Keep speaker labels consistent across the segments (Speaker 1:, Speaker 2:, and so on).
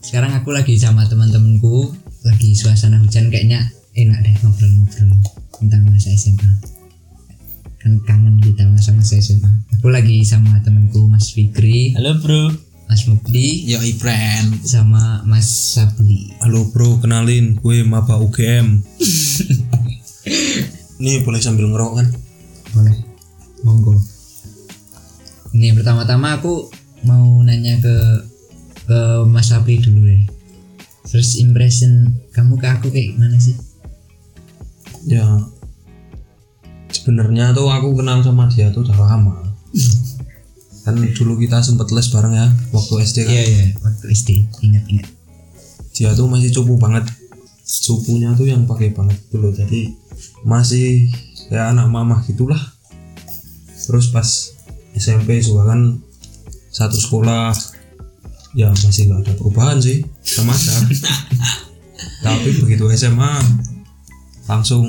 Speaker 1: sekarang aku lagi sama teman-temanku lagi suasana hujan kayaknya enak deh ngobrol-ngobrol tentang masa SMA kan kangen kita masa-masa SMA aku lagi sama temanku Mas Fikri
Speaker 2: Halo bro.
Speaker 1: Mas Mukdi
Speaker 3: Yo friend.
Speaker 1: sama Mas Sabli
Speaker 4: Halo bro, kenalin gue maba UGM. Nih boleh sambil ngerokok kan?
Speaker 1: boleh monggo ini pertama-tama aku mau nanya ke ke Mas Sabli dulu deh first impression kamu ke aku kayak gimana sih
Speaker 4: Ya. Sebenarnya tuh aku kenal sama dia tuh udah lama. kan dulu kita sempet les bareng ya waktu SD kan.
Speaker 1: iya waktu SD ingat-ingat
Speaker 4: Dia tuh masih cupu banget. Cupunya tuh yang pakai banget dulu. Jadi masih ya anak mamah gitulah. Terus pas SMP juga kan satu sekolah ya masih nggak ada perubahan sih sama aja tapi begitu SMA langsung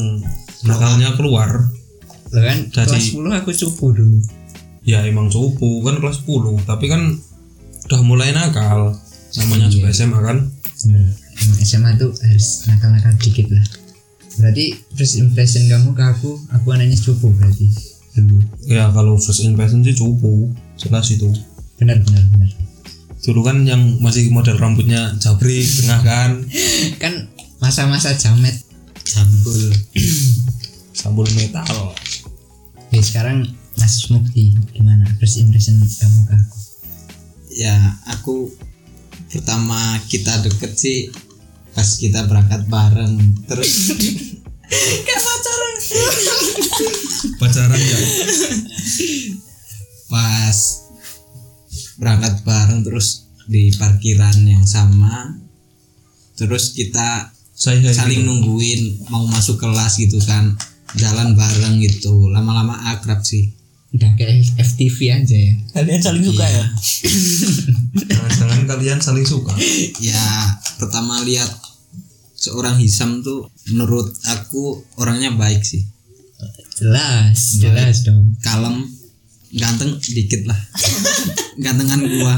Speaker 4: nakalnya keluar
Speaker 1: lo kan
Speaker 4: Jadi-
Speaker 1: kelas 10 aku cupu dulu
Speaker 4: ya emang cupu kan kelas 10 tapi kan udah mulai nakal namanya
Speaker 1: Iya.
Speaker 4: juga SMA kan
Speaker 1: bener emang SMA tuh harus nakal-nakal dikit lah berarti first impression kamu ke aku aku anaknya cupu berarti dulu
Speaker 4: ya kalau first impression sih cupu jelas itu
Speaker 1: benar benar benar
Speaker 4: dulu kan yang masih model rambutnya jabrik tengah kan
Speaker 1: kan masa-masa jamet jambul
Speaker 4: sambul metal
Speaker 1: Oke ya sekarang Mas Mukti gimana first impression kamu ke aku
Speaker 3: Ya aku pertama kita deket sih pas kita berangkat bareng terus
Speaker 4: pacaran ya
Speaker 3: pas berangkat bareng terus di parkiran yang sama terus kita
Speaker 4: saya
Speaker 3: saling nungguin mau masuk kelas gitu kan jalan bareng gitu lama-lama akrab sih
Speaker 1: udah kayak FTV aja ya
Speaker 2: Kalian saling suka ya?
Speaker 4: Nah, jangan kalian saling suka
Speaker 3: ya pertama lihat seorang Hisam tuh menurut aku orangnya baik sih
Speaker 2: Iya.
Speaker 1: jelas jelas dong
Speaker 3: kalem ganteng dikit lah gantengan gua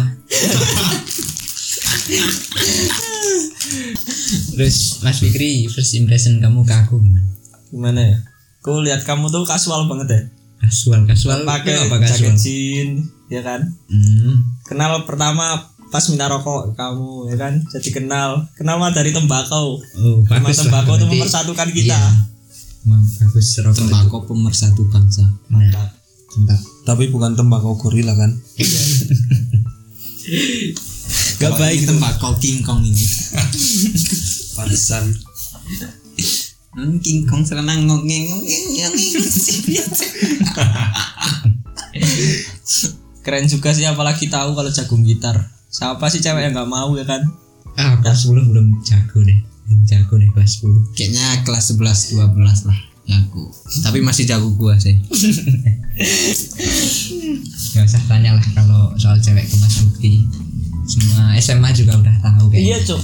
Speaker 1: terus Mas Fikri first impression kamu ke aku gimana
Speaker 2: Gimana ya? Ku lihat kamu tuh kasual banget ya.
Speaker 1: kasual kasual
Speaker 2: Pakai
Speaker 1: itu apa
Speaker 2: jaket
Speaker 1: kasual
Speaker 2: jean, ya kan?
Speaker 1: hmm.
Speaker 2: Kenal pertama pas minta rokok kamu, ya kan? Jadi kenal. Kenal mah dari tembakau.
Speaker 1: oh
Speaker 2: Sama
Speaker 1: bagus lah
Speaker 2: tembakau tuh
Speaker 1: berarti.
Speaker 2: mempersatukan kita.
Speaker 1: Iya. Emang bagus rokok
Speaker 3: tembakau pemersatu bangsa
Speaker 1: Nah, mantap.
Speaker 4: tapi bukan tembakau gorila kan
Speaker 3: gak baik tembakau King Kong ini
Speaker 4: pantesan
Speaker 3: Hmm, King Kong serenang ngongeng ngongeng ngongeng
Speaker 2: Keren juga sih apalagi tahu kalau jagung gitar. Siapa sih cewek yang nggak mau ya kan?
Speaker 1: Ah, kelas 10 belum jago deh. Belum jago deh kelas 10.
Speaker 3: kayaknya kelas 11 12 lah Ya, jago tapi masih jago gua sih
Speaker 1: Gak usah tanya lah kalau soal cewek ke Mas Bukti. Semua SMA juga udah tahu kayaknya.
Speaker 2: Iya cuk.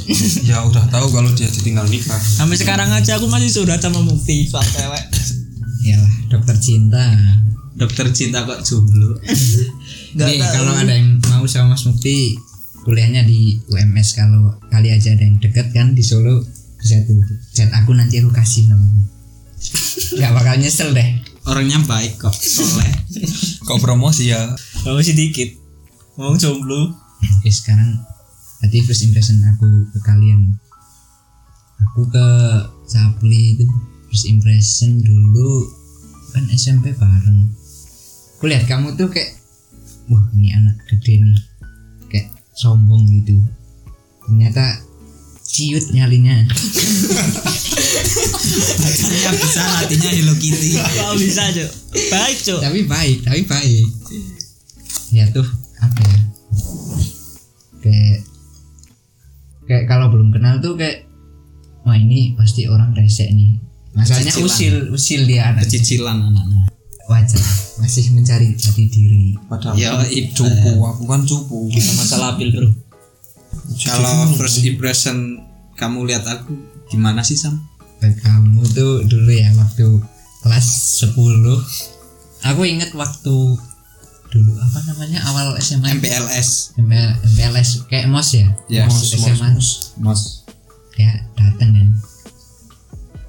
Speaker 4: ya udah tahu kalau dia ditinggal nikah
Speaker 2: Sampai sekarang aja aku masih surat sama Mukti soal cewek.
Speaker 1: Iyalah, dokter cinta.
Speaker 3: dokter cinta kok jomblo
Speaker 2: Nggak
Speaker 1: Nih,
Speaker 2: tahu.
Speaker 1: kalau ada yang mau sama Mas Mukti kuliahnya di UMS kalau kali aja ada yang deket kan di Solo bisa tuh chat aku nanti aku kasih namanya nggak bakal nyesel deh
Speaker 3: orangnya baik kok soleh
Speaker 4: kok promosi ya
Speaker 2: Kamu sih dikit. Ngomong jomblo.
Speaker 1: Oke Eh, sekarang Berarti first impression aku ke kalian Aku ke Sapli itu First impression dulu Kan SMP bareng Aku lihat kamu tuh kayak Wah ini anak gede nih Kayak sombong gitu Ternyata ciut nyalinya
Speaker 3: Hatinya bisa hatinya Hello Kitty
Speaker 2: Kau bisa cuk. Baik cuk.
Speaker 1: Tapi baik Tapi baik Ya tuh Apa ya Kayak Kayak kalau belum kenal tuh kayak Wah ini pasti orang resek nih Masalahnya
Speaker 3: Cicilan.
Speaker 1: usil Usil dia anak
Speaker 3: kecicilan anaknya
Speaker 1: Wajar Masih mencari jati diri
Speaker 4: padahal
Speaker 3: Ya,
Speaker 4: kan
Speaker 3: Ibu.
Speaker 4: cupu aku kan cupu
Speaker 2: Masalah apil bro.
Speaker 3: kalau first impression kamu lihat aku gimana sih Sam
Speaker 1: Nah, Kamu tuh dulu ya Waktu kelas 10 Aku inget waktu dulu apa namanya awal SMA
Speaker 3: MPLS
Speaker 1: ML, MPLS kayak mos ya
Speaker 3: ya
Speaker 4: Mos, mos,
Speaker 1: SMA.
Speaker 4: mos.
Speaker 3: mos
Speaker 1: kayak dateng kan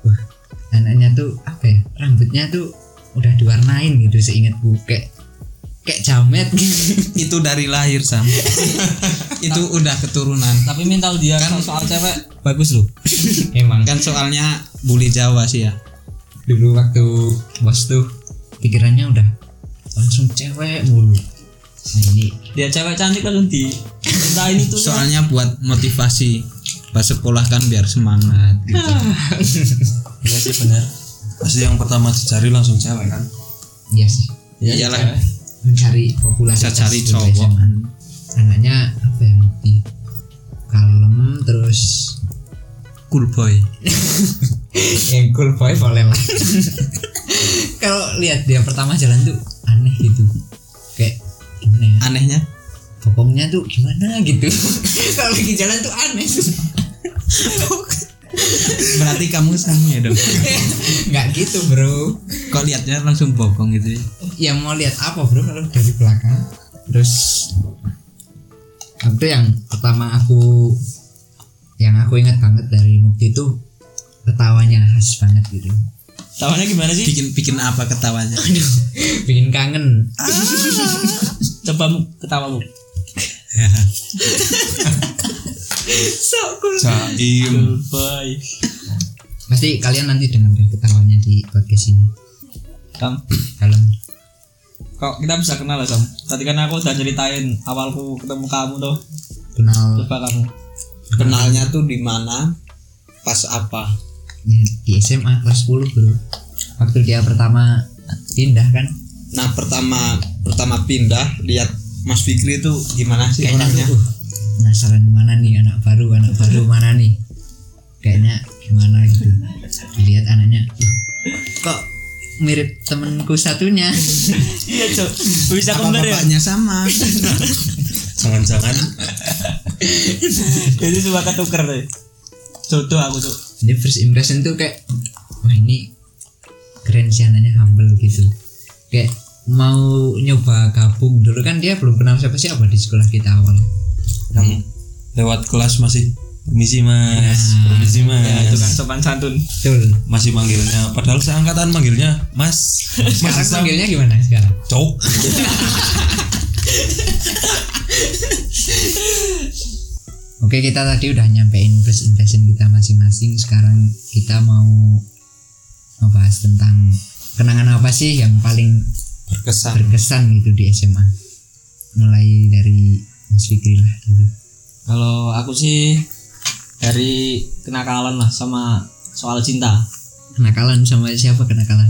Speaker 1: Wah, anaknya tuh apa ya rambutnya tuh udah diwarnain gitu seingatku kayak kayak jamet gitu
Speaker 3: itu dari lahir sam itu udah keturunan
Speaker 2: Tapi mental dia kan soal cewek bagus loh.
Speaker 1: emang
Speaker 3: kan soalnya bully Jawa sih ya
Speaker 1: dulu waktu bos tuh pikirannya udah langsung cewek mulu nah, ini
Speaker 2: Dia cewek cantik kan di minta ini tuh.
Speaker 3: soalnya buat motivasi pas sekolah kan biar semangat gitu
Speaker 2: Iya sih benar.
Speaker 4: pasti yang pertama dicari langsung cewek kan
Speaker 1: iya sih
Speaker 3: ya iyalah
Speaker 1: mencari popularitas
Speaker 3: bisa cari
Speaker 1: dulu
Speaker 3: cowok
Speaker 1: SMA. anaknya apa ya Muti? kalem terus
Speaker 3: cool boy
Speaker 1: yang cool boy boleh lah kalau lihat dia pertama jalan tuh aneh gitu kayak gimana ya
Speaker 3: anehnya
Speaker 1: bokongnya tuh gimana gitu kalau lagi jalan tuh aneh
Speaker 3: berarti kamu sama ya dong
Speaker 1: nggak gitu bro
Speaker 3: kok liatnya langsung bokong gitu ya
Speaker 1: ya mau lihat apa bro kalau dari belakang terus itu yang pertama aku yang aku ingat banget dari Mukti itu ketawanya khas banget gitu
Speaker 2: Tawannya gimana sih?
Speaker 3: bikin bikin apa ketawanya
Speaker 1: bikin kangen
Speaker 2: Coba mu ketawamu.
Speaker 4: Jaim
Speaker 2: Bye.
Speaker 1: pasti kalian nanti dengerin ketawanya di podcast ini
Speaker 2: Sam,
Speaker 1: kalem
Speaker 2: kok kita bisa kenal lah Sam. Tadi kan aku udah ceritain awalku ketemu kamu tuh.
Speaker 1: kenal
Speaker 2: Coba kamu.
Speaker 3: kenalnya tuh di mana pas apa
Speaker 1: ya, di SMA kelas 10 bro waktu dia pertama pindah kan
Speaker 3: nah pertama pertama pindah lihat Mas Fikri itu gimana sih
Speaker 1: kayaknya
Speaker 3: orangnya
Speaker 1: tuh uh, penasaran mana nih anak baru anak baru mana nih kayaknya gimana gitu lihat anaknya "Uh, kok mirip temenku satunya
Speaker 2: Iya, Cok. Bisa
Speaker 3: apa
Speaker 2: kembar ya?
Speaker 3: bapaknya sama
Speaker 4: jangan-jangan
Speaker 2: Jadi cuma ketuker deh. Jodoh aku, Cok.
Speaker 1: jadi first impression tuh kayak wah ini keren sih anaknya humble gitu kayak mau nyoba gabung dulu kan dia belum kenal siapa siapa di sekolah kita awal
Speaker 4: yang lewat kelas masih permisi mas
Speaker 3: Hmm.
Speaker 4: permisi mas
Speaker 2: Ya, itu kan sopan santun.
Speaker 1: betul
Speaker 4: masih manggilnya padahal seangkatan manggilnya mas
Speaker 1: sekarang
Speaker 4: mas Sam.
Speaker 1: panggilnya gimana sekarang
Speaker 4: cok
Speaker 1: Oke kita tadi udah nyampein first impression kita masing-masing Sekarang kita mau Ngebahas tentang Kenangan apa sih yang paling
Speaker 3: berkesan
Speaker 1: berkesan gitu di SMA Mulai dari Mas Fikri lah dulu
Speaker 2: Kalau aku sih dari kenakalan lah sama soal cinta.
Speaker 1: Kenakalan sama siapa kenakalan?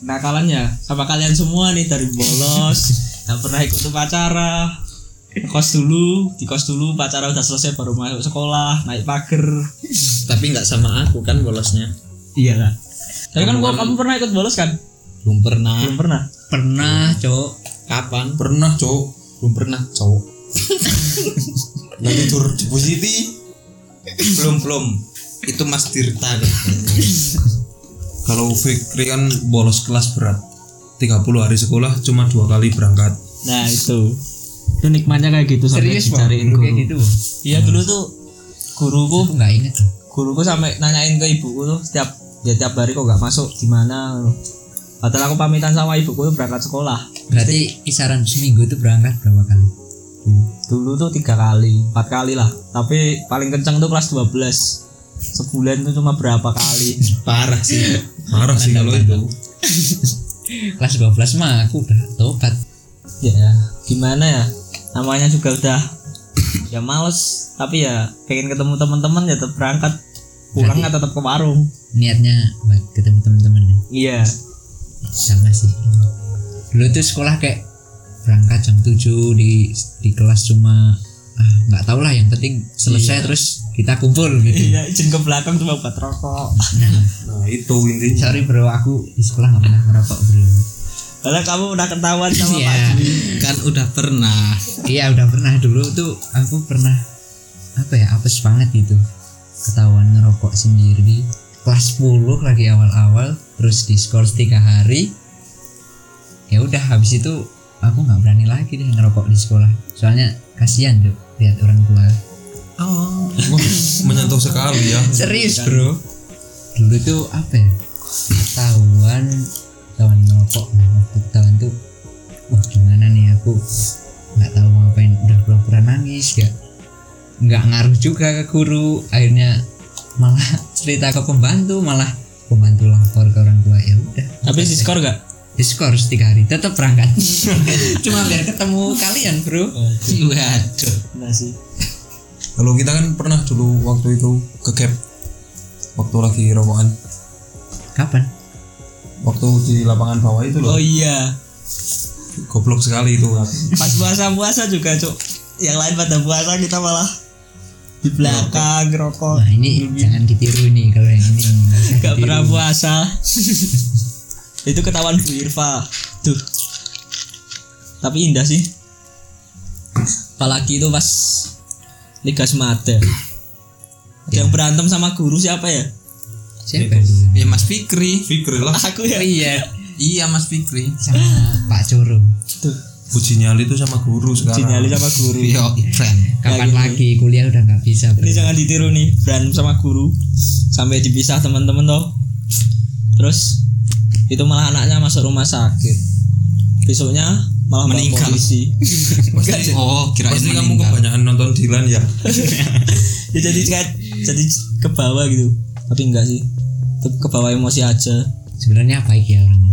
Speaker 2: Kenakalan ya sama kalian semua nih dari bolos, yang pernah ikut upacara, kos dulu, di kos dulu upacara udah selesai baru masuk sekolah, naik pagar.
Speaker 3: tapi nggak sama aku kan bolosnya
Speaker 2: Iya lah. Tapi kan gua kamu pernah ikut bolos kan?
Speaker 3: belum pernah
Speaker 2: Belum pernah.
Speaker 1: Pernah cowok
Speaker 3: kapan
Speaker 4: pernah cok
Speaker 3: belum pernah
Speaker 4: cowok nanti tur positi
Speaker 3: belum belum itu Mas Tirta katanya.
Speaker 4: kalau Fikri kan bolos kelas berat 30 hari sekolah cuma dua kali berangkat
Speaker 2: Nah, itu. Itu nikmatnya kayak gitu sampai
Speaker 1: Serius Bang?
Speaker 2: dicariin
Speaker 1: Dulu
Speaker 2: guru.
Speaker 1: Kayak gitu Bang?
Speaker 2: Iya, dulu tuh guruku
Speaker 1: Aku Oh, nggak inget loh.
Speaker 2: guruku sampai nanyain ke ibuku tuh setiap ya tiap hari kok nggak masuk di mana padahal aku pamitan sama ibuku tuh berangkat sekolah
Speaker 1: Berarti kisaran seminggu itu berangkat berapa kali?
Speaker 2: dulu tuh tiga kali empat kali lah tapi paling kenceng tuh kelas 12 sebulan tuh cuma berapa kali
Speaker 3: parah sih
Speaker 4: marah sih kalau itu
Speaker 1: Kelas 12 mah aku udah tobat
Speaker 2: ya gimana ya namanya juga udah ya males tapi ya pengen ketemu teman-teman ya tetap berangkat pulang ya tetap ke warung
Speaker 1: Niatnya buat ketemu temen-temen ya
Speaker 2: iya
Speaker 1: sama sih dulu tuh sekolah kayak berangkat jam 7 di di kelas cuma ah, nggak tau lah yang penting selesai terus kita kumpul gitu
Speaker 2: iya izin ke belakang cuma buat rokok
Speaker 1: nah
Speaker 4: nah itu intinya
Speaker 1: sorry bro aku di sekolah nggak pernah ngerokok bro
Speaker 2: padahal kamu udah ketahuan sama
Speaker 1: Iya.
Speaker 2: Pak Jimmy.
Speaker 3: kan udah pernah
Speaker 1: iya udah pernah dulu tuh aku pernah apa ya apes banget gitu ketahuan ngerokok sendiri kelas 10 lagi awal-awal terus diskors tiga hari ya udah habis itu aku nggak berani lagi deh ngerokok di sekolah soalnya kasihan tuh lihat orang tua
Speaker 4: Oh, menyentuh sekali ya.
Speaker 1: serius bro Kan? dulu tuh apa ya ketahuan ketahuan ngerokok nah waktu ketahuan tuh wah gimana nih aku nggak tahu mau ngapain udah pura-pura nangis gak nggak ngaruh juga ke guru akhirnya malah cerita ke pembantu malah pembantu lapor ke orang tua ya udah
Speaker 2: Tapi di skor gak?
Speaker 1: diskor tiga hari tetap berangkat cuma biar ketemu kalian bro
Speaker 3: waduh
Speaker 2: Enggak sih.
Speaker 4: Kalau kita kan pernah dulu waktu itu ke gap waktu lagi rokokan
Speaker 1: kapan
Speaker 4: waktu di lapangan bawah itu loh
Speaker 2: Oh iya.
Speaker 4: goblok sekali itu
Speaker 2: Pas puasa-puasa juga, Cuk. Yang lain pada puasa kita malah di belakang ngerokok.
Speaker 1: Wah ini jangan ditiru nih kalau yang ini ya? nggak usah
Speaker 2: Gak
Speaker 1: ditiru.
Speaker 2: pernah puasa. Itu ketahuan Bu Irfa. Tuh. Tapi indah sih. Apalagi itu pas Liga Semada. Yang berantem sama guru siapa ya?
Speaker 1: siapa dulu
Speaker 3: ya Mas Fikri
Speaker 4: Fikri lah
Speaker 2: Aku ya.
Speaker 1: iya
Speaker 3: iya Mas Fikri
Speaker 1: sama Pak Coro
Speaker 2: Tuh.
Speaker 4: uji nyali itu sama guru sekarang
Speaker 2: Sinyali sama guru.
Speaker 3: Rio friend
Speaker 1: kapan
Speaker 2: Kayak
Speaker 1: lagi kuliah udah nggak bisa bro.
Speaker 2: Ini jangan ditiru nih berantem sama guru sampai dipisah teman-teman toh. Terus itu malah anaknya masuk rumah sakit. Besoknya malah meninggal
Speaker 3: Meninggal.
Speaker 2: polisi.
Speaker 4: pasti,
Speaker 3: oh kirain
Speaker 4: pasti kamu
Speaker 3: meninggal
Speaker 4: kebanyakan nonton Dilan ya
Speaker 2: Ya, jadi kayak- jadi ke bawah gitu. Tapi enggak sih. Tetep ke bawah emosi aja.
Speaker 1: sebenarnya baik ya orangnya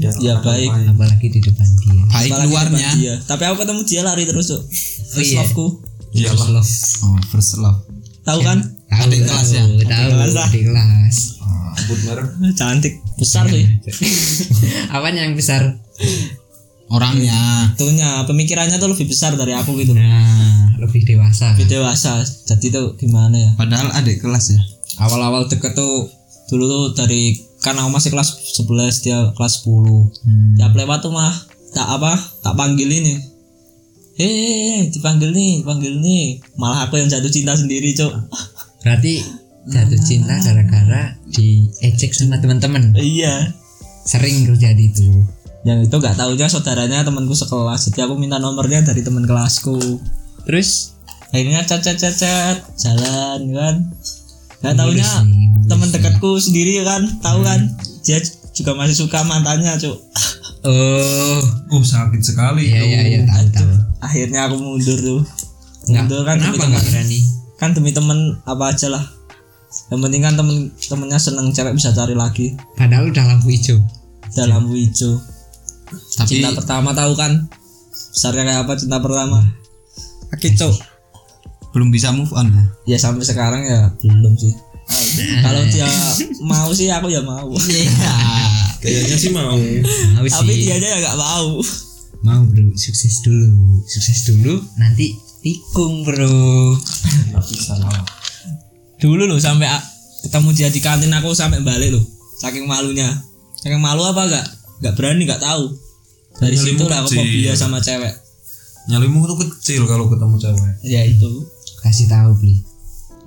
Speaker 4: ya,
Speaker 2: Ya,
Speaker 4: orang
Speaker 2: baik.
Speaker 4: lain.
Speaker 1: apalagi di depan dia
Speaker 3: baik
Speaker 2: Apalagi
Speaker 3: luarnya
Speaker 2: depan dia. Tapi aku ketemu dia lari terus tuh. First
Speaker 1: iya.
Speaker 2: loveku.
Speaker 4: iyalah
Speaker 1: Love.
Speaker 3: oh first love
Speaker 2: Tahu kan?
Speaker 1: tahu
Speaker 3: Adik kelas ya?
Speaker 1: tahu, tahu
Speaker 2: kelas lah.
Speaker 1: adik kelas
Speaker 4: sebut merek
Speaker 2: Iya. Cantik, Iya. besar sih.
Speaker 1: apanya yang besar
Speaker 3: orangnya
Speaker 2: Tuhnya pemikirannya tuh lebih besar dari aku gitu.
Speaker 1: nah lebih dewasa
Speaker 2: Lebih dewasa. Jadi tuh gimana ya?
Speaker 3: padahal adik kelas ya
Speaker 2: awal-awal deket tuh dulu tuh dari kan aku masih kelas 11 dia kelas 10
Speaker 1: Hmm.
Speaker 2: tiap lewat tuh mah tak apa tak panggil ini hei dipanggil nih dipanggil nih malah aku yang jatuh cinta sendiri cok
Speaker 1: berarti jatuh cinta gara-gara diejek sama teman-teman
Speaker 2: iya
Speaker 1: sering terjadi itu
Speaker 2: yang itu nggak taunya saudaranya temanku sekelas jadi aku minta nomornya dari teman kelasku
Speaker 1: terus
Speaker 2: akhirnya cat cat cat cat jalan kan nggak taunya
Speaker 1: Mulus nih, mulus
Speaker 2: teman
Speaker 1: nih.
Speaker 2: dekatku sendiri kan tahu kan dia juga masih suka mantannya cok
Speaker 1: oh
Speaker 4: oh sakit sekali
Speaker 1: iya
Speaker 4: itu.
Speaker 1: iya iya tahu tahu
Speaker 2: akhirnya aku mundur tuh
Speaker 1: Nggak,
Speaker 2: mundur kan demi
Speaker 1: Nah, kenapa
Speaker 2: teman
Speaker 1: nggak berani
Speaker 2: kan demi teman apa aja lah yang penting kan temen temennya seneng cewek bisa cari lagi
Speaker 1: padahal udah lampu hijau
Speaker 2: dalam lampu hijau
Speaker 3: tapi
Speaker 2: cinta pertama tahu kan besarnya kayak apa cinta pertama Oke cok
Speaker 3: belum bisa move on ya
Speaker 2: ya sampai sekarang ya belum sih kalau dia mau sih aku ya mau
Speaker 4: kayaknya sih mau
Speaker 1: Mau
Speaker 2: tapi
Speaker 1: sih.
Speaker 2: dia aja ya nggak mau
Speaker 1: mau bro sukses dulu sukses dulu nanti tikung bro
Speaker 4: nggak bisa lah
Speaker 2: dulu loh sampai a- ketemu dia di kantin aku sampai balik loh saking malunya saking malu apa enggak nggak berani nggak tahu dari
Speaker 4: Nyali
Speaker 2: situ lah aku
Speaker 4: mukjir.
Speaker 2: fobia sama cewek
Speaker 4: nyalimu tuh kecil kalau ketemu cewek
Speaker 2: ya itu
Speaker 1: kasih tahu beli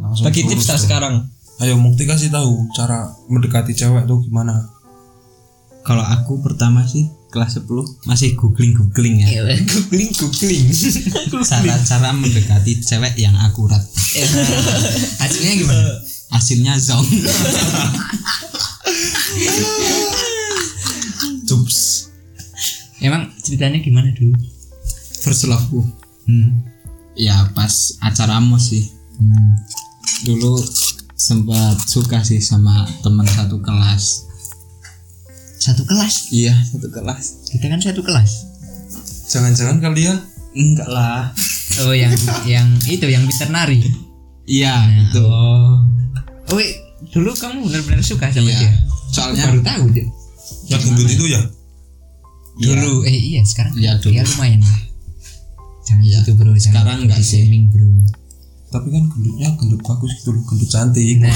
Speaker 4: langsung
Speaker 2: bagi
Speaker 4: lurus
Speaker 2: tips lah
Speaker 4: tuh.
Speaker 2: sekarang
Speaker 4: ayo mukti kasih tahu cara mendekati cewek tuh gimana
Speaker 3: kalau aku pertama sih kelas 10 masih googling googling ya
Speaker 1: googling googling
Speaker 3: cara-cara mendekati cewek yang akurat
Speaker 1: hasilnya gimana
Speaker 3: hasilnya zong
Speaker 4: cups
Speaker 1: emang ceritanya gimana dulu
Speaker 3: first loveku
Speaker 1: hmm.
Speaker 3: ya pas acara mos sih
Speaker 1: Hmm.
Speaker 3: dulu sempat suka sih sama teman satu kelas
Speaker 1: satu kelas
Speaker 3: iya satu kelas
Speaker 1: kita kan satu kelas
Speaker 4: jangan-jangan ya, kalian
Speaker 3: enggak lah
Speaker 1: oh yang yang itu yang pintar nari
Speaker 3: iya itu
Speaker 1: oh oh wait, dulu kamu benar-benar suka sama
Speaker 3: Iya.
Speaker 1: dia
Speaker 3: soalnya
Speaker 1: baru tahu dia
Speaker 4: yang gendut itu ya
Speaker 3: Iya.
Speaker 1: dulu eh iya sekarang
Speaker 3: Iya, dulu.
Speaker 1: ya lumayan lah jangan
Speaker 3: Iya.
Speaker 1: gitu bro jangan
Speaker 3: Sekarang nggak
Speaker 1: di
Speaker 3: sih.
Speaker 1: shaming, bro
Speaker 4: tapi kan gendutnya gendut bagus gitu loh gendut cantik
Speaker 1: nah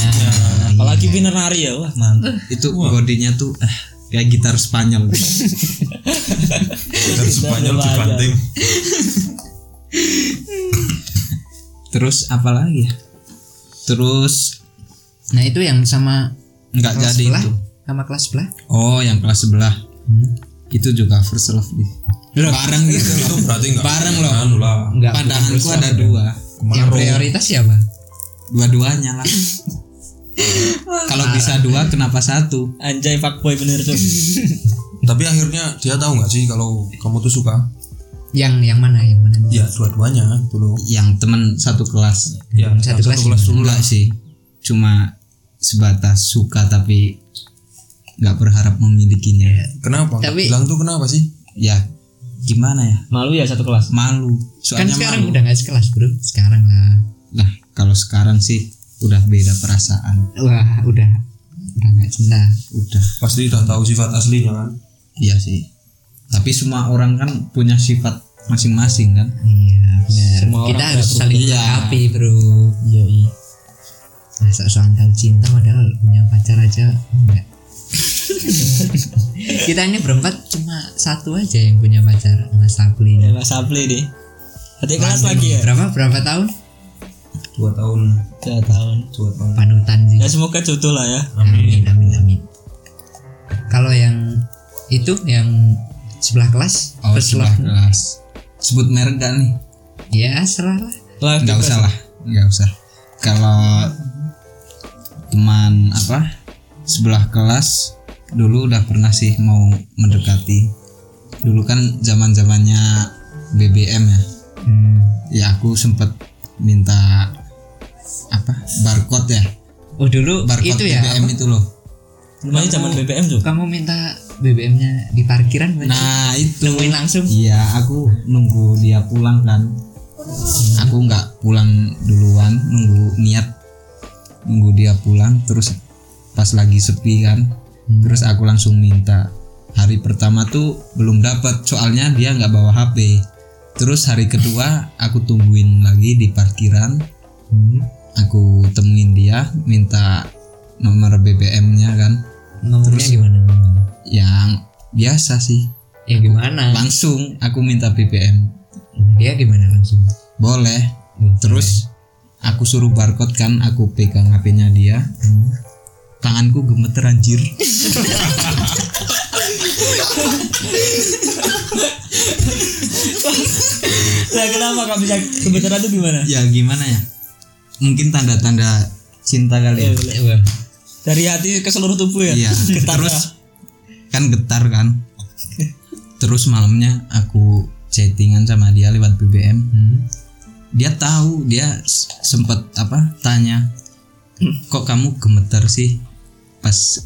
Speaker 2: apalagi pinter nari ya wah mantap
Speaker 3: itu bodinya tuh ah, kayak gitar Spanyol
Speaker 4: dan sepanjang
Speaker 2: Udah, udah
Speaker 4: dibanting
Speaker 3: terus apalagi ya terus
Speaker 1: nah itu yang sama
Speaker 3: nggak
Speaker 1: kelas
Speaker 3: jadi
Speaker 1: sebelah Hmm.
Speaker 3: itu
Speaker 1: sama kelas sebelah
Speaker 3: oh yang kelas sebelah itu juga first love nih bareng gitu
Speaker 4: itu
Speaker 3: loh ya.
Speaker 4: berarti enggak
Speaker 3: bareng loh
Speaker 4: anu lah
Speaker 1: Enggak.
Speaker 3: pandanganku ada dua
Speaker 1: Yang
Speaker 4: Kemarin
Speaker 1: prioritas ya, siapa?
Speaker 3: dua-duanya lah kalau bisa dua kenapa satu
Speaker 2: Anjay fuckboy bener cok.
Speaker 4: tapi akhirnya dia tahu nggak sih kalau kamu tuh suka
Speaker 1: Yang yang mana? Yang mana?
Speaker 4: ya dua-duanya gitu loh
Speaker 3: yang teman satu kelas
Speaker 4: ya
Speaker 1: Satu
Speaker 4: yang
Speaker 1: kelas
Speaker 4: dulu
Speaker 3: enggak sih cuma sebatas suka tapi nggak berharap memilikinya
Speaker 4: kenapa
Speaker 1: Tapi-
Speaker 4: bilang tuh kenapa sih
Speaker 3: ya gimana ya
Speaker 2: Malu ya satu kelas.
Speaker 3: malu
Speaker 1: Kan
Speaker 3: soalnya
Speaker 1: sekarang
Speaker 3: malu
Speaker 1: udah gak sekelas bro. Sekarang lah.
Speaker 3: lah kalau sekarang sih udah beda perasaan
Speaker 1: Wah udah udah gak cinta.
Speaker 3: udah
Speaker 4: pasti udah tahu sifat aslinya kan
Speaker 3: iya sih tapi semua orang kan punya sifat masing-masing kan
Speaker 1: Iya benar.
Speaker 2: Semua orang
Speaker 1: Kita harus
Speaker 2: berubah.
Speaker 1: saling
Speaker 3: Iya.
Speaker 1: melengkapi bro. Iya iya. Masa soal tahu cinta padahal punya pacar aja enggak. Kita ini berempat cuma satu aja yang punya pacar Mas Sapli.
Speaker 2: Ya Mas Sapli deh. Berarti kelas lagi ya.
Speaker 1: Berapa berapa tahun?
Speaker 4: dua tahun
Speaker 2: Dua tahun.
Speaker 4: dua tahun
Speaker 1: Panutan sih.
Speaker 2: Ya semoga jodoh lah ya.
Speaker 1: Amin amin amin. Kalau yang itu yang sebelah kelas,
Speaker 3: oh
Speaker 1: first
Speaker 3: sebelah
Speaker 1: love.
Speaker 3: kelas sebut merek gak nih
Speaker 1: Ya serah lah.
Speaker 2: Lah
Speaker 3: nggak
Speaker 2: juga
Speaker 3: usah lah nggak usah kalau teman apa sebelah kelas dulu udah pernah sih mau mendekati dulu kan zaman zamannya BBM ya
Speaker 1: Hmm.
Speaker 3: ya aku sempet minta apa barcode ya
Speaker 1: Oh dulu itu
Speaker 3: barcode
Speaker 1: ya.
Speaker 3: BBM itu loh
Speaker 2: Namanya zaman BBM tuh.
Speaker 1: Kamu minta BBM-nya di parkiran berarti?
Speaker 3: nah itu
Speaker 1: nemuin langsung.
Speaker 3: Iya, aku nunggu dia pulang kan. Aku nggak pulang duluan, nunggu niat nunggu dia pulang terus pas lagi sepi kan. Terus aku langsung minta. Hari pertama tuh belum dapat soalnya dia nggak bawa HP. Terus hari kedua aku tungguin lagi di parkiran. Aku temuin dia, minta nomor BBM-nya kan.
Speaker 1: Nomornya gimana? nomornya?
Speaker 3: Yang biasa sih.
Speaker 1: Ya gimana?
Speaker 3: Langsung aku minta BBM.
Speaker 1: Dia gimana langsung?
Speaker 3: Boleh.
Speaker 1: Wah,
Speaker 3: Terus aku suruh barcode kan, aku pegang HP-nya dia. Tanganku gemeter anjir.
Speaker 2: Lah kenapa kok bisa kebetulan tuh gimana?
Speaker 3: ya gimana ya? Mungkin tanda-tanda cinta kali. ya.
Speaker 2: Eh, boleh.
Speaker 1: Wah,
Speaker 2: Dari hati ke seluruh tubuh ya.
Speaker 3: Iya.
Speaker 2: Getar
Speaker 3: Terus
Speaker 2: lah.
Speaker 3: kan getar kan. Terus malamnya aku chattingan sama dia lewat BBM. Dia tahu, dia s- sempet apa? Tanya, "Kok kamu gemeter sih pas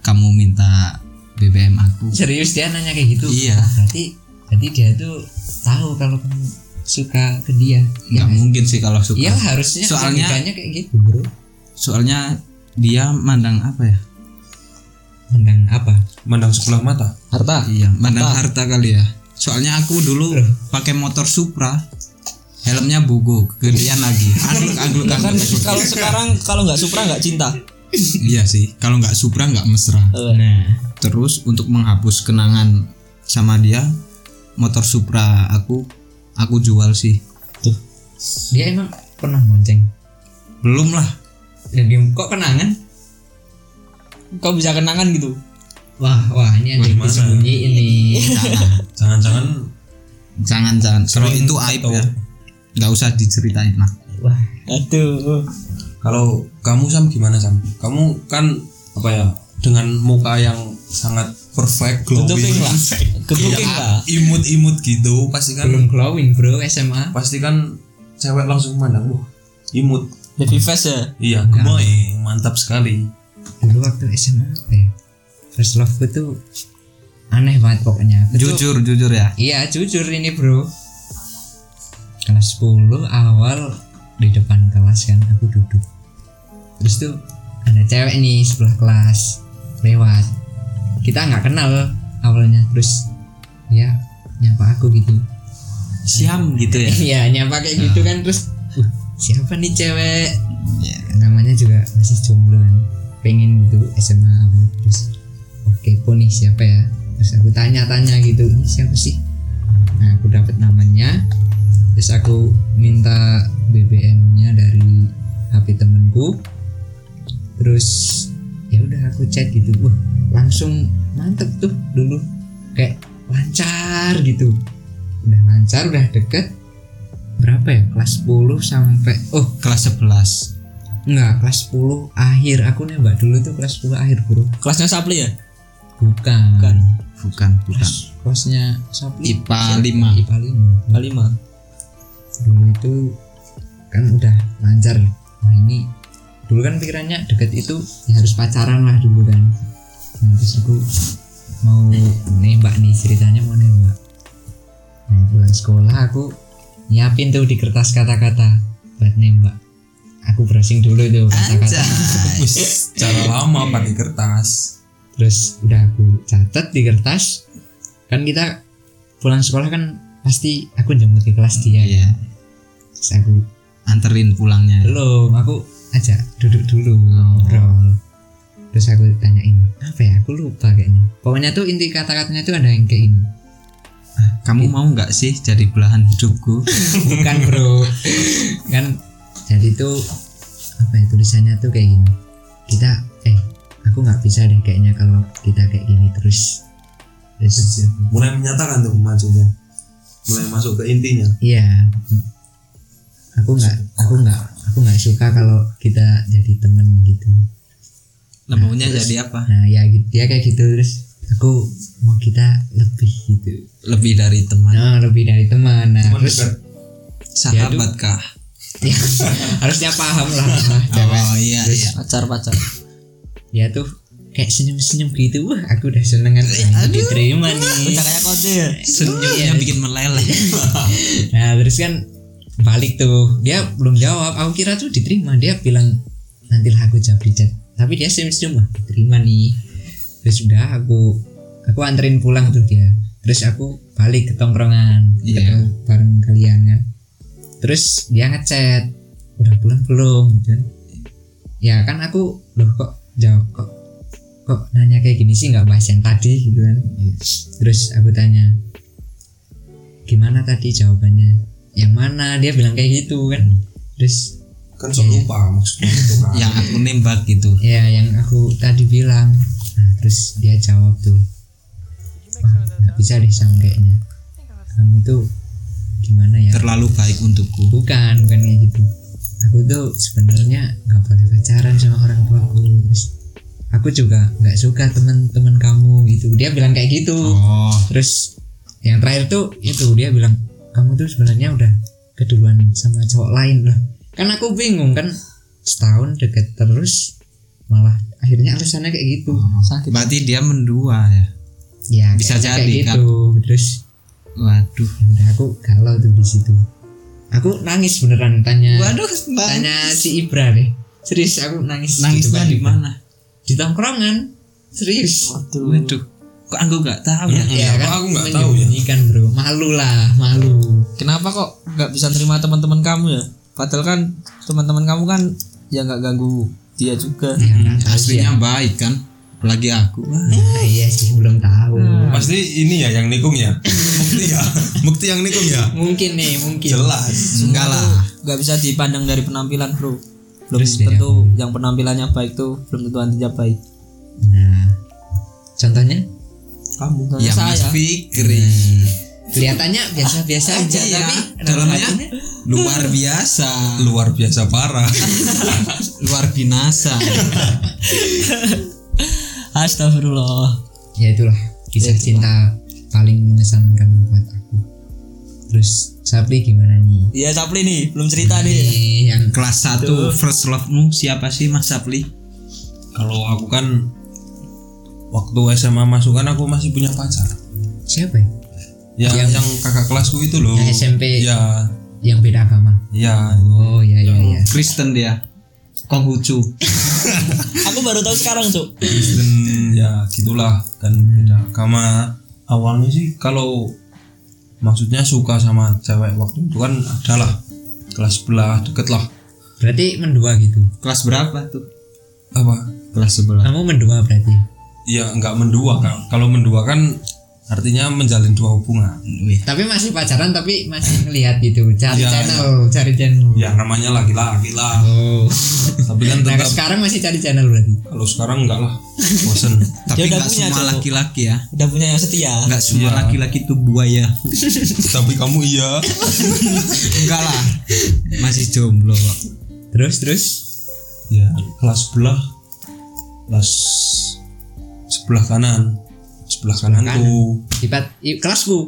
Speaker 3: kamu minta BBM aku?"
Speaker 1: serius dia nanya kayak gitu.
Speaker 3: Iya.
Speaker 1: Berarti berarti dia tuh tahu kalau kamu suka ke dia.
Speaker 3: Iya. nggak mungkin sih kalau suka
Speaker 1: Iya harusnya
Speaker 3: Nah, Soalnya-
Speaker 1: logikanya kayak gitu, Bro.
Speaker 3: soalnya dia mandang apa ya
Speaker 1: Mendang apa?
Speaker 4: mandang sebelah mata
Speaker 2: Harta.
Speaker 3: iya mandang harta kali ya soalnya aku dulu pakai motor Supra helmnya bogo kegedean lagi angluk angluk
Speaker 2: Kan
Speaker 3: angluk, angluk.
Speaker 2: kalau sekarang kalau nggak Supra nggak cinta.
Speaker 3: iya sih kalau nggak Supra nggak mesra
Speaker 1: Nah,
Speaker 3: terus untuk menghapus kenangan sama dia motor Supra aku aku jual sih
Speaker 1: dia emang pernah bonceng.
Speaker 3: belum lah
Speaker 1: Dan dia kok kan?" kenangan?
Speaker 2: Kau bisa kenangan gitu.
Speaker 1: Wah, wah ini ada yang
Speaker 4: Gimana?
Speaker 1: disembunyiin nih.
Speaker 3: jangan
Speaker 4: jangan-jangan
Speaker 3: jangan jangan kalau
Speaker 4: Sering
Speaker 3: itu aib
Speaker 4: atau-
Speaker 3: ya nggak usah diceritain lah
Speaker 1: Wah,
Speaker 2: Aduh. oh.
Speaker 4: Kalau kamu Sam gimana Sam? Kamu kan apa ya dengan muka yang sangat perfect
Speaker 2: Tutupin
Speaker 4: glowing
Speaker 2: lah. Gebukin
Speaker 4: Iya,
Speaker 2: lah.
Speaker 4: imut-imut gitu pasti kan
Speaker 1: belum glowing, Bro, SMA.
Speaker 4: pasti kan cewek langsung mandang wah imut
Speaker 2: Baby face ya.
Speaker 4: iya gemoy mantap sekali
Speaker 1: Dulu waktu SMA apa ya? First love gue tuh aneh banget pokoknya. Aku tuh-
Speaker 3: jujur jujur ya
Speaker 1: Iya jujur ini bro Kelas 10 awal di depan kelas kan aku duduk Terus tuh ada cewek nih sebelah kelas lewat Kita nggak kenal awalnya Terus dia nyapa aku gitu
Speaker 3: siam gitu ya
Speaker 1: Iya nyapa kayak gitu kan terus "Uh, Siapa nih cewek
Speaker 3: Iya.
Speaker 1: Namanya juga masih jomblo kan Pengen gitu SMA apa Terus wah kepo nih siapa ya Terus aku tanya-tanya gitu Ini siapa sih Nah aku dapat namanya Terus aku minta BBM nya dari HP temenku Terus ya udah aku chat gitu Wah langsung mantep tuh dulu Kayak lancar gitu udah lancar udah deket berapa ya kelas 10 sampai oh
Speaker 3: kelas 11
Speaker 1: enggak kelas 10 akhir aku nembak dulu tuh kelas 10 akhir bro
Speaker 2: Kelasnya Sapli ya?
Speaker 1: bukan,
Speaker 2: Bukan.
Speaker 3: bukan bukan
Speaker 1: Kelas- kelasnya Sapli
Speaker 3: IPA
Speaker 1: IPA 5
Speaker 2: Kelima.
Speaker 1: dulu itu kan udah lancar nah ini dulu kan pikirannya deket itu ya harus pacaran lah dulu kan nah, terus aku mau nembak nih ceritanya mau nembak nah pulang sekolah aku nyiapin tuh di kertas kata-kata buat nembak aku browsing dulu tuh kata-kata
Speaker 4: Wis, cara lama pakai kertas.
Speaker 1: terus udah aku catat di kertas kan kita pulang sekolah kan pasti aku jemput ke kelas dia ya
Speaker 3: Iya.
Speaker 1: terus aku
Speaker 3: anterin pulangnya
Speaker 1: belum aku ajak duduk dulu ngobrol terus aku tanyain apa ya aku lupa kayaknya pokoknya tuh inti kata-katanya tuh ada yang kayak ini
Speaker 3: kamu mau nggak sih jadi belahan hidupku
Speaker 1: bukan bro kan jadi tuh apa ya tulisannya tuh kayak gini kita eh aku nggak bisa deh kayaknya kalau kita kayak gini terus terus
Speaker 4: Mulai menyatakan tuh maksudnya. Mulai masuk ke intinya.
Speaker 1: Iya. Aku nggak, aku nggak, aku nggak suka kalau kita jadi temen gitu.
Speaker 3: lemaunya jadi apa
Speaker 1: Nah ya gitu, dia kayak gitu terus aku mau kita lebih gitu.
Speaker 3: lebih dari teman
Speaker 1: Nah lebih dari teman. Nah
Speaker 4: Cuman
Speaker 1: terus
Speaker 4: dekat.
Speaker 3: sahabat kah
Speaker 1: ya, harusnya paham lah Nah, sama cewek.
Speaker 3: oh iya iya
Speaker 2: Pacar-pacar.
Speaker 1: Dia ya tuh kayak senyum-senyum gitu wah aku udah seneng kan Wah, ini diterima nih
Speaker 2: Kayak kode ya?
Speaker 3: senyumnya bikin meleleh
Speaker 1: nah terus kan balik tuh dia belum jawab aku kira tuh diterima dia bilang nanti lah aku jawab di chat tapi dia senyum-senyum wah diterima nih terus udah aku aku anterin pulang tuh dia terus aku balik ke tongkrongan
Speaker 3: Iya.
Speaker 1: ketemu bareng kalian kan terus dia ngechat udah pulang belum gitu kan ya kan aku loh kok jawab kok kok nanya kayak gini sih nggak bahas yang tadi gitu kan terus aku tanya gimana tadi jawabannya yang mana dia bilang kayak gitu kan terus
Speaker 4: Kan sok lupa maksudnya itu kan.
Speaker 3: yang aku nembak gitu
Speaker 1: ya yang aku tadi bilang nah, terus dia jawab tuh "Wah, nggak bisa deh sama kayaknya kamu tuh gimana ya
Speaker 3: terlalu baik untukku
Speaker 1: bukan bukan kayak gitu aku tuh sebenarnya nggak boleh pacaran sama orang tuaku terus aku juga nggak suka teman-teman kamu gitu dia bilang kayak gitu
Speaker 3: oh
Speaker 1: terus yang terakhir tuh itu dia bilang kamu tuh sebenarnya udah keduluan sama cowok lain lah kan aku bingung kan setahun deket terus malah akhirnya alasannya kayak gitu
Speaker 2: Sakit.
Speaker 3: berarti dia mendua ya
Speaker 1: ya
Speaker 3: Oh, Bisa
Speaker 1: kayaknya
Speaker 3: jadi,
Speaker 1: kayak
Speaker 3: kan?
Speaker 1: gitu terus
Speaker 3: waduh
Speaker 1: ya udah aku galau tuh di situ aku nangis beneran tanya
Speaker 3: waduh
Speaker 1: tanya si Ibra deh serius aku nangis
Speaker 3: nangisnya
Speaker 1: depan
Speaker 3: di
Speaker 1: Ibra.
Speaker 3: mana
Speaker 1: di tongkrongan serius
Speaker 2: Waduh.
Speaker 3: waduh kok aku nggak tahu ya
Speaker 1: ya
Speaker 4: kenapa aku nggak tahu ya?
Speaker 1: menyembunyikan, bro malu lah malu
Speaker 2: Kenapa kok nggak bisa terima teman-teman kamu ya? Padahal kan teman-teman kamu kan ya nggak ganggu dia juga.
Speaker 1: Ya,
Speaker 3: Hmm,
Speaker 1: Iya.
Speaker 3: aslinya baik kan apalagi aku Wah,
Speaker 1: Nah, iya sih belum tahu.
Speaker 4: Pasti ini ya yang nikung ya. Bukti ya. Bukti yang nikung ya.
Speaker 1: Mungkin nih, mungkin.
Speaker 4: Jelas.
Speaker 3: enggak lah
Speaker 2: Nggak bisa dipandang dari penampilan bro. Belum
Speaker 1: Terus dia
Speaker 2: tentu yang penampilannya baik tuh belum tentu antinya baik.
Speaker 1: Nah, contohnya
Speaker 4: Kamu
Speaker 2: Contohnya
Speaker 3: ya mas
Speaker 2: Hmm. saya.
Speaker 3: Fikri
Speaker 1: kelihatannya biasa-biasa
Speaker 4: Ah,
Speaker 1: aja,
Speaker 3: Iya,
Speaker 1: tapi
Speaker 3: dalamnya luar biasa
Speaker 4: luar biasa parah.
Speaker 3: luar binasa
Speaker 2: Astagfirullah.
Speaker 1: ya itulah kisah cinta paling mengesankan buat aku. Terus Sapri gimana nih?
Speaker 2: Iya Sapli nih belum cerita nih.
Speaker 1: Ini Eh, yang
Speaker 3: kelas 1 first love mu siapa sih mas Sapli
Speaker 4: Kalau aku kan waktu SMA masuk kan aku masih punya pacar.
Speaker 1: siapa ya?
Speaker 4: Ya, yang, kakak kelasku itu loh.
Speaker 1: Yang SMP.
Speaker 4: Ya,
Speaker 1: Yang beda agama.
Speaker 4: ya.
Speaker 1: Oh ya ya ya.
Speaker 3: Kristen dia Konghucu
Speaker 2: Aku baru tahu sekarang cuk.
Speaker 4: Kristen ya gitulah kan beda agama awalnya sih kalau maksudnya suka sama cewek waktu itu kan adalah kelas 11 deket lah
Speaker 1: Berarti mendua gitu.
Speaker 3: kelas berapa tuh
Speaker 4: apa
Speaker 3: kelas 11
Speaker 1: Kamu mendua berarti.
Speaker 4: ya nggak mendua kan kalau mendua kan artinya menjalin dua hubungan
Speaker 3: Wih,
Speaker 1: Tapi masih pacaran tapi masih ngelihat gitu. Cari
Speaker 4: Iya,
Speaker 1: channel, cari channel.
Speaker 4: ya namanya laki-laki lah
Speaker 1: Oh.
Speaker 4: tapi kan
Speaker 1: Nah,
Speaker 4: tetap
Speaker 1: sekarang masih cari channel berarti.
Speaker 4: kalau sekarang enggak lah bosen
Speaker 3: Tapi
Speaker 2: udah
Speaker 3: nggak
Speaker 2: punya,
Speaker 3: semua
Speaker 2: Cok.
Speaker 3: laki-laki ya.
Speaker 2: Udah punya yang setia.
Speaker 3: Nggak semua
Speaker 4: Iya.
Speaker 3: laki-laki itu buaya.
Speaker 4: tapi kamu iya
Speaker 3: Enggak lah. Masih jomblo kok.
Speaker 1: Terus terus
Speaker 4: ya kelas sebelah kelas sebelah kanan sebelah kanan
Speaker 1: kanan.
Speaker 4: tuh
Speaker 1: IPA i- kelasku.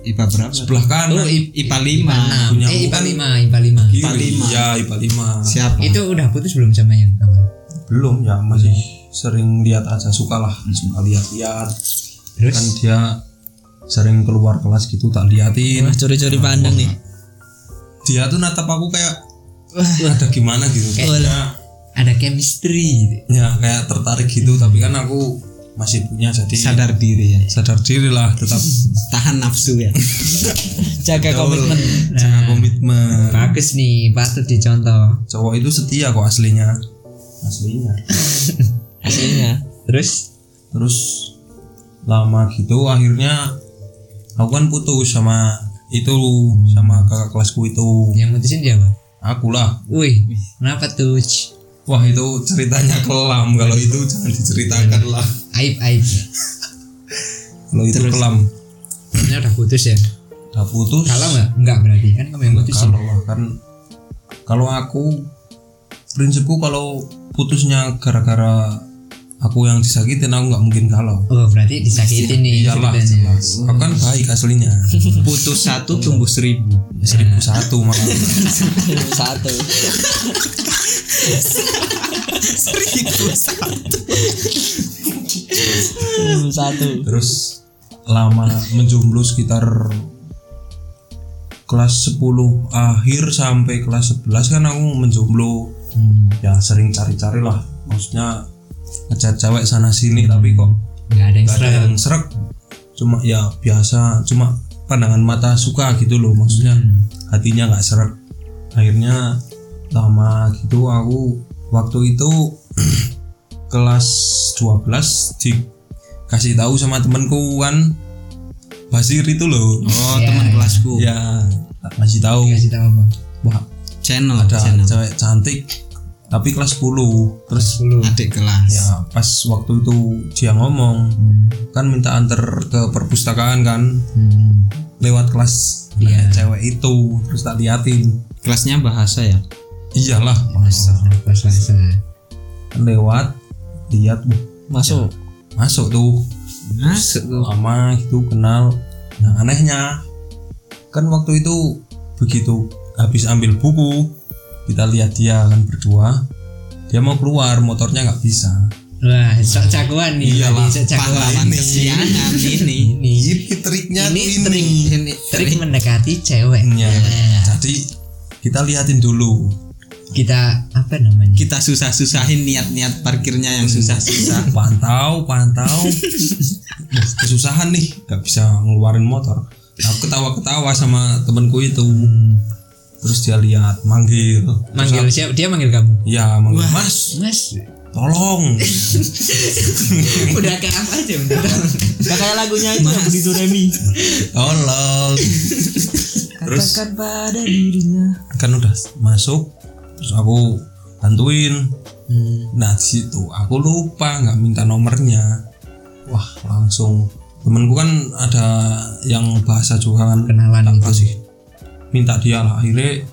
Speaker 3: IPA berapa?
Speaker 4: sebelah
Speaker 1: Oh,
Speaker 4: kanan
Speaker 1: I-
Speaker 3: IPA 5.
Speaker 1: Nah,
Speaker 4: punya
Speaker 1: eh,
Speaker 4: aku
Speaker 1: IPA
Speaker 4: kan-
Speaker 1: 5, IPA 5.
Speaker 4: IPA
Speaker 2: lima.
Speaker 4: ya IPA lima
Speaker 3: Siapa?
Speaker 1: Itu udah putus belum sama yang awal?
Speaker 4: belum ya
Speaker 1: Hmm.
Speaker 4: masih sering lihat aja suka lah suka lihat-lihat
Speaker 1: Terus
Speaker 4: kan dia sering keluar kelas gitu tak liatin
Speaker 2: curi-curi pandang nih.
Speaker 4: dia tuh natap aku kayak ada gimana gitu
Speaker 1: Kayak-
Speaker 4: Dia-
Speaker 1: ada chemistry gitu.
Speaker 4: ya kayak tertarik gitu tapi kan aku masih punya jadi
Speaker 3: Sadar diri ya.
Speaker 4: sadar diri lah tetap
Speaker 3: Tahan nafsu ya.
Speaker 2: Jaga komitmen.
Speaker 1: Nah.
Speaker 4: jaga komitmen
Speaker 1: Bagus nih, patut dicontoh.
Speaker 4: cowok itu setia kok aslinya aslinya
Speaker 2: Aslinya.
Speaker 1: Terus
Speaker 4: terus lama gitu akhirnya aku kan putus sama itu sama kakak kelasku itu
Speaker 1: yang mutusin siapa?
Speaker 4: akulah
Speaker 1: Wih, kenapa tuh? Ch?
Speaker 4: wah itu ceritanya kelam kalau itu jangan diceritakan lah
Speaker 1: Aib aib.
Speaker 4: kalau itu kelam
Speaker 1: Ini udah putus ya?
Speaker 4: udah putus
Speaker 1: Kalau nggak, nggak berarti kan kamu yang putusin.
Speaker 4: kalau lah, kan kalau aku prinsipku kalau putusnya gara-gara aku yang disakitin aku nggak mungkin kalau
Speaker 1: Oh berarti disakitin nih
Speaker 4: Iya, iyalah
Speaker 1: ceritanya.
Speaker 4: jelas aku kan baik aslinya
Speaker 3: Hmm. Putus satu tumbuh seribu.
Speaker 4: seribu satu malah
Speaker 2: Satu. Seribu satu.
Speaker 4: terus lama menjomblo sekitar kelas 10 akhir sampai kelas 11 kan aku menjomblo
Speaker 1: Hmm,
Speaker 4: ya sering cari-cari lah maksudnya ngecat cewek sana sini tapi kok
Speaker 1: nggak ada yang
Speaker 4: gak ada
Speaker 1: serem.
Speaker 4: yang serak cuma ya biasa cuma pandangan mata suka gitu loh maksudnya hatinya nggak serak akhirnya lama gitu aku waktu itu kelas 12 dikasih tahu sama temanku kan Basir itu loh
Speaker 3: Oh,
Speaker 1: Ya,
Speaker 3: teman
Speaker 1: ya.
Speaker 3: kelasku.
Speaker 4: ya masih tahu
Speaker 1: Kasih tahu apa?
Speaker 4: wah
Speaker 3: Channel,
Speaker 4: ada
Speaker 3: channel.
Speaker 4: cewek cantik tapi kelas 10 terus
Speaker 1: Sepuluh.
Speaker 3: Adik kelas.
Speaker 4: ya pas waktu itu dia ngomong kan minta antar ke perpustakaan kan lewat kelas
Speaker 1: Iya.
Speaker 4: nah, cewek itu terus tak liatin
Speaker 3: Kelasnya bahasa ya.
Speaker 4: iyalah
Speaker 1: Masa pas masa.
Speaker 4: lewat lihat wah, ya,
Speaker 2: Masuk.
Speaker 4: masuk tuh
Speaker 3: Masuk tuh.
Speaker 4: lama gitu kenal nah anehnya kan waktu itu begitu habis ambil buku kita lihat dia kan berdua dia mau keluar motornya nggak bisa
Speaker 1: Wah, sok cakuan nih.
Speaker 4: Iyalah,
Speaker 1: tadi, sok cakuan.
Speaker 3: Pahlawan kesiangan ini.
Speaker 1: Ini
Speaker 4: ini triknya
Speaker 1: ini
Speaker 4: tuh
Speaker 1: trik ini trik mendekati cewek.
Speaker 4: Ya,
Speaker 1: Nah,
Speaker 4: jadi kita liatin dulu
Speaker 1: Kita apa namanya?
Speaker 3: Kita susah-susahin niat-niat parkirnya yang susah-susah.
Speaker 4: pantau pantau kesusahan nih nggak bisa ngeluarin motor aku ketawa ketawa sama temanku itu terus dia lihat manggil Terus
Speaker 1: manggil
Speaker 4: aku-
Speaker 1: siapa? Dia manggil kamu.
Speaker 4: ya manggil mas
Speaker 1: Mas,
Speaker 4: tolong
Speaker 1: udah kayak apa aja bentar.
Speaker 2: Gak Nah, kayak lagunya itu yang begitu Remi.
Speaker 4: tolong terus
Speaker 2: pada dirinya.
Speaker 4: kan udah masuk terus aku bantuin
Speaker 1: Hmm.
Speaker 4: nah di situ aku lupa nggak minta nomornya wah langsung temenku kan ada yang bahasa juga kan
Speaker 1: Kenalan
Speaker 4: tak
Speaker 1: gitu.
Speaker 4: kasih minta dia lah akhirnya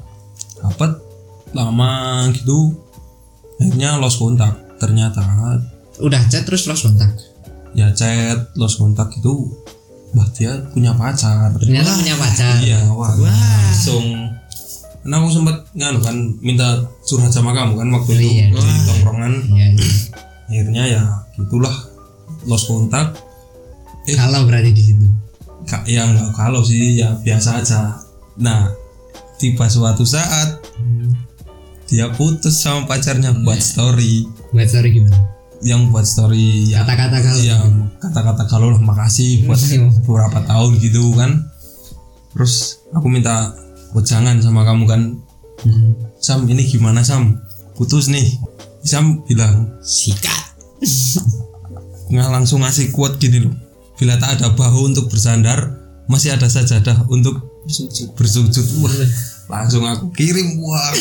Speaker 4: dapat lama gitu akhirnya lost kontak ternyata
Speaker 1: Udah chat terus lost kontak.
Speaker 4: ya chat lost kontak gitu wah dia punya pacar
Speaker 1: Ternyata punya pacar.
Speaker 4: iya wah langsung karena aku sempat nganu kan minta curhat sama kamu kan waktu itu
Speaker 1: Iya.
Speaker 4: di tongkrongan
Speaker 1: Iya.
Speaker 4: akhirnya ya gitulah lost kontak
Speaker 1: Kalau berarti di situ.
Speaker 4: Ka- ya nggak kalau sih ya biasa aja nah tiba suatu saat dia putus sama pacarnya buat story
Speaker 1: Buat story gimana?
Speaker 4: yang buat story ya
Speaker 1: Kata-kata kalau.
Speaker 4: ya kata-kata kalau lah makasih buat beberapa tahun gitu kan terus aku minta wejangan sama kamu kan
Speaker 1: Hmm.
Speaker 4: Sam ini gimana Sam putus nih Sam bilang
Speaker 3: Sikat.
Speaker 4: nggak langsung ngasih quote gini loh Bila tak ada bahu untuk bersandar, masih ada sajadah untuk bersujud. Wah, langsung aku kirim wah.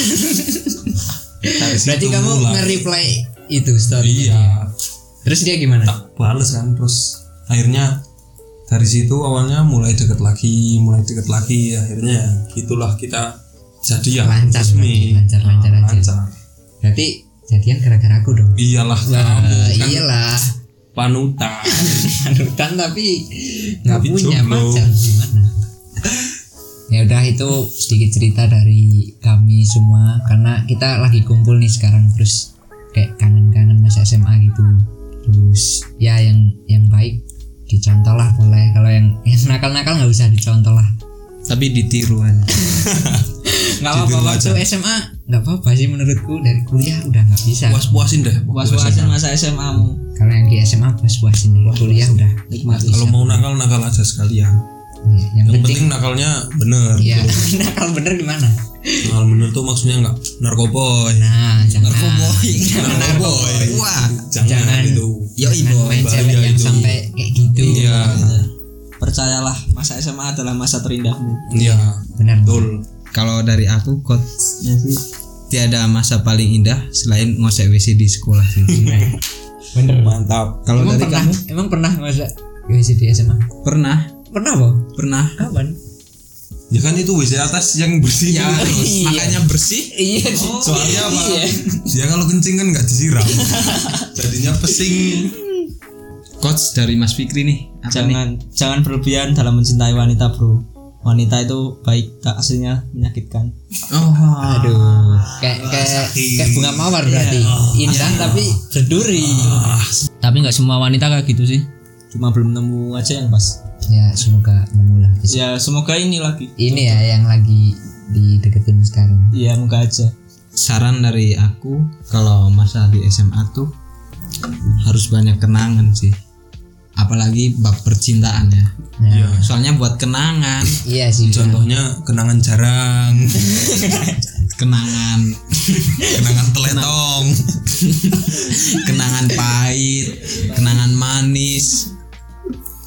Speaker 4: Dari
Speaker 1: Berarti
Speaker 4: situ
Speaker 1: kamu
Speaker 4: mulai.
Speaker 1: nge-reply itu story.
Speaker 4: Iya,
Speaker 1: Terus dia gimana?
Speaker 4: tak bales kan terus akhirnya dari situ awalnya mulai deket lagi, mulai deket lagi akhirnya ya gitulah kita jadi ya
Speaker 1: Lancar berarti, lancar, lancar aja. Berarti jadian gara-gara aku dong.
Speaker 4: Iyalah
Speaker 1: Nah,
Speaker 4: kamu
Speaker 1: Lah,
Speaker 4: kan
Speaker 1: iyalah.
Speaker 4: panutan.
Speaker 1: Panutan tapi nggak
Speaker 4: Tapi
Speaker 1: punya
Speaker 4: jomblo.
Speaker 1: pacar gimana? ya udah itu sedikit cerita dari kami semua karena kita lagi kumpul nih sekarang terus kayak kangen-kangen masa SMA gitu terus ya yang yang baik dicontoh lah boleh kalau yang yang nakal-nakal nggak usah dicontoh lah
Speaker 3: tapi ditiru aja
Speaker 1: nggak apa-apa waktu SMA nggak apa-apa sih menurutku dari kuliah udah nggak bisa
Speaker 4: Puas-puasin deh.
Speaker 2: Was-wasan masa SMA mu.
Speaker 1: kalau yang di SMA puas-puasin deh kuliah udah
Speaker 2: Nikmati.
Speaker 4: Kalau mau nakal nakal aja sekalian.
Speaker 1: ya, yang, Iya.
Speaker 4: Yang
Speaker 1: penting,
Speaker 4: penting nakalnya bener.
Speaker 1: ya nakal bener gimana
Speaker 4: Nakal bener tuh maksudnya nggak narkoboy.
Speaker 1: nah jangan
Speaker 3: narkoboy
Speaker 1: jangan
Speaker 4: Narkoboy.
Speaker 1: narkoboy wah
Speaker 4: Jangan,
Speaker 1: Jangan.
Speaker 4: itu.
Speaker 3: yo
Speaker 1: jangan
Speaker 3: ibu
Speaker 1: main
Speaker 4: bahaya
Speaker 1: cewek yang
Speaker 4: Iya, itu.
Speaker 1: sampai kayak gitu
Speaker 4: Iya.
Speaker 2: Percayalah, masa SMA adalah masa terindahmu.
Speaker 4: Iya.
Speaker 1: benar
Speaker 4: Betul.
Speaker 3: kalau dari aku quotesnya Ya sih tiada masa paling indah selain ngosek WC di sekolah sih.
Speaker 1: bener
Speaker 4: Mantap.
Speaker 3: kalau
Speaker 1: Iya. emang
Speaker 3: dari
Speaker 1: pernah
Speaker 3: kamu
Speaker 1: emang pernah masa WC di SMA
Speaker 3: pernah
Speaker 1: pernah boh
Speaker 3: pernah
Speaker 1: kapan
Speaker 4: Ya kan itu WC atas yang bersih.
Speaker 3: ya
Speaker 4: itu.
Speaker 3: harus
Speaker 1: Iya.
Speaker 3: makanya bersih
Speaker 1: iya
Speaker 4: Soalnya apa? Dia kalau kencing kan nggak disiram. Jadinya pesing.
Speaker 3: quotes dari Mas Fikri nih
Speaker 1: Ah.
Speaker 3: apa nih
Speaker 2: jangan jangan berlebihan dalam mencintai wanita, Bro. Wanita itu baik tak aslinya menyakitkan.
Speaker 3: oh
Speaker 1: aduh kayak kayak kayak bunga mawar berarti indah tapi berduri
Speaker 5: Tapi nggak semua wanita kayak gitu sih.
Speaker 2: Cuma belum nemu aja yang pas.
Speaker 1: ya semoga nemu lah
Speaker 2: Ya, semoga ini lagi.
Speaker 1: ini ya yang lagi dideketin sekarang
Speaker 2: Iya, moga aja.
Speaker 3: saran dari aku kalau masa di SMA tuh harus banyak kenangan sih apalagi bab percintaan ya
Speaker 1: Nah,
Speaker 3: soalnya buat kenangan
Speaker 1: iya sih
Speaker 4: Contohnya kenangan jarang,
Speaker 3: kenangan
Speaker 4: kenangan teletong.
Speaker 3: kenangan pahit kenangan manis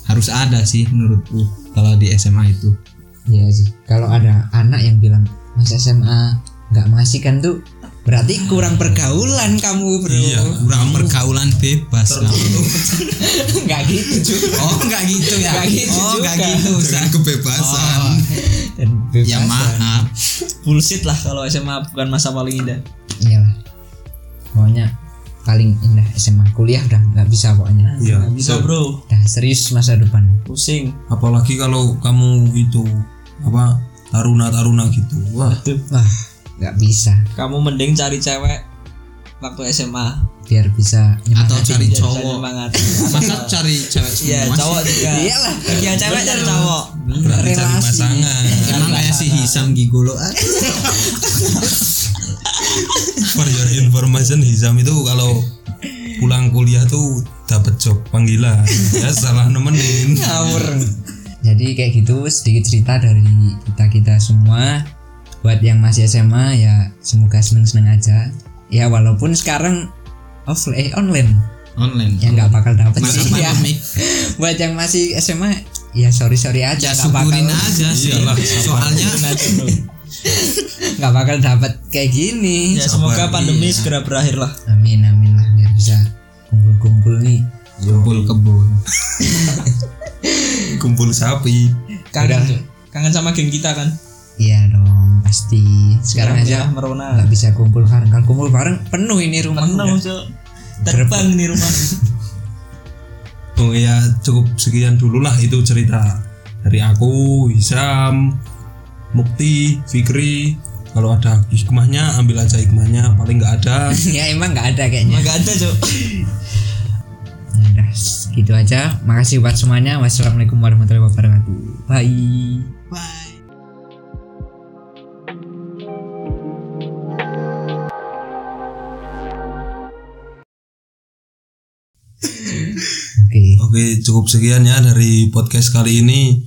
Speaker 3: harus ada sih menurutku kalau di SMA itu
Speaker 1: Iya sih. Kalau ada anak yang bilang mas SMA nggak masih kan tuh berarti kurang pergaulan kamu bro.
Speaker 4: Iya.
Speaker 3: kurang pergaulan bebas kamu.
Speaker 1: Nggak gitu juga.
Speaker 3: oh nggak gitu ya
Speaker 1: Nggak gitu
Speaker 3: oh nggak
Speaker 1: juga.
Speaker 3: gitu
Speaker 4: Jangan kebebasan.
Speaker 3: Oh,
Speaker 1: Dan bebas.
Speaker 3: ya maaf
Speaker 2: Bullshit lah kalau SMA bukan masa paling indah.
Speaker 1: Iyalah. Pokoknya paling indah SMA kuliah udah nggak bisa pokoknya.
Speaker 4: Iya.
Speaker 2: Nggak Bisa,
Speaker 4: So,
Speaker 2: Bro.
Speaker 1: Dah serius masa depan.
Speaker 2: Pusing.
Speaker 4: apalagi kalau kamu itu apa taruna taruna gitu. Wah.
Speaker 2: Tuh.
Speaker 1: Wah nggak bisa.
Speaker 2: Kamu mending cari cewek waktu SMA
Speaker 1: Biar bisa
Speaker 3: atau
Speaker 1: nyemangatin.
Speaker 3: cari
Speaker 2: Biar bisa
Speaker 3: cowok
Speaker 2: nyemangat.
Speaker 3: masa cari cewek
Speaker 2: Iya,
Speaker 3: semua
Speaker 2: cowok juga.
Speaker 1: Iyalah.
Speaker 2: Iya, cewek cari cowok.
Speaker 4: Berarti cari
Speaker 1: Iya, Relasi.
Speaker 4: pasangan. ya
Speaker 3: sih? emang kayak si Hisam Gigolo aduh.
Speaker 4: For your information Hizam itu kalau pulang kuliah tuh dapat job panggilan ya salah nemenin
Speaker 1: Jadi kayak gitu sedikit cerita dari kita kita semua. Buat yang masih SMA ya semoga seneng seneng aja. Ya walaupun sekarang offline eh, online
Speaker 3: online
Speaker 1: ya nggak bakal dapet
Speaker 3: masa
Speaker 1: sih ya.
Speaker 3: pandemik
Speaker 1: buat yang masih SMA ya sorry sorry aja
Speaker 3: ya
Speaker 1: nggak bakal
Speaker 3: syukurin aja
Speaker 2: Iya
Speaker 3: sih
Speaker 4: Iyalah,
Speaker 3: soalnya
Speaker 1: nggak bakal dapat kayak gini
Speaker 2: Ya, semoga
Speaker 4: Sabar,
Speaker 2: pandemi segera berakhir lah.
Speaker 1: amin amin lah biar bisa kumpul kumpul nih
Speaker 3: kumpul kebun
Speaker 4: kumpul sapi
Speaker 1: Udah.
Speaker 2: Kangen, kangen sama geng kita kan.
Speaker 1: iya dong pasti sekarang aja
Speaker 2: Alhamdulillah, merona.
Speaker 1: nggak bisa kumpul bareng kalau kumpul bareng penuh ini rumah
Speaker 2: Penuh,
Speaker 1: udah.
Speaker 2: Cok. Terbang nih rumah.
Speaker 4: oh ya cukup sekian dulu lah itu cerita dari aku Hizam Mukti Fikri kalau ada hikmahnya ambil aja hikmahnya paling nggak ada
Speaker 1: ya emang nggak ada kayaknya
Speaker 2: Enggak ada, Cok.
Speaker 1: ya udah gitu aja makasih buat semuanya wassalamualaikum warahmatullahi wabarakatuh bye oke
Speaker 4: Oke, cukup sekian ya dari podcast kali ini.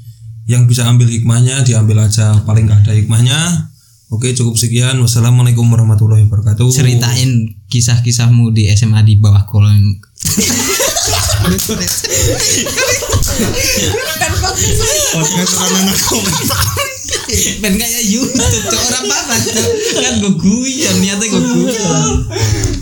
Speaker 4: Yang bisa ambil hikmahnya diambil aja, paling nggak ada hikmahnya. Oke, cukup sekian. Wassalamualaikum warahmatullahi wabarakatuh.
Speaker 3: ceritain kisah-kisahmu di SMA di bawah kolom
Speaker 6: podcast orang anak komentar
Speaker 1: Ben kayak YouTube, cok orang panas, cok. Kan gue guyon, niatnya gue guyon.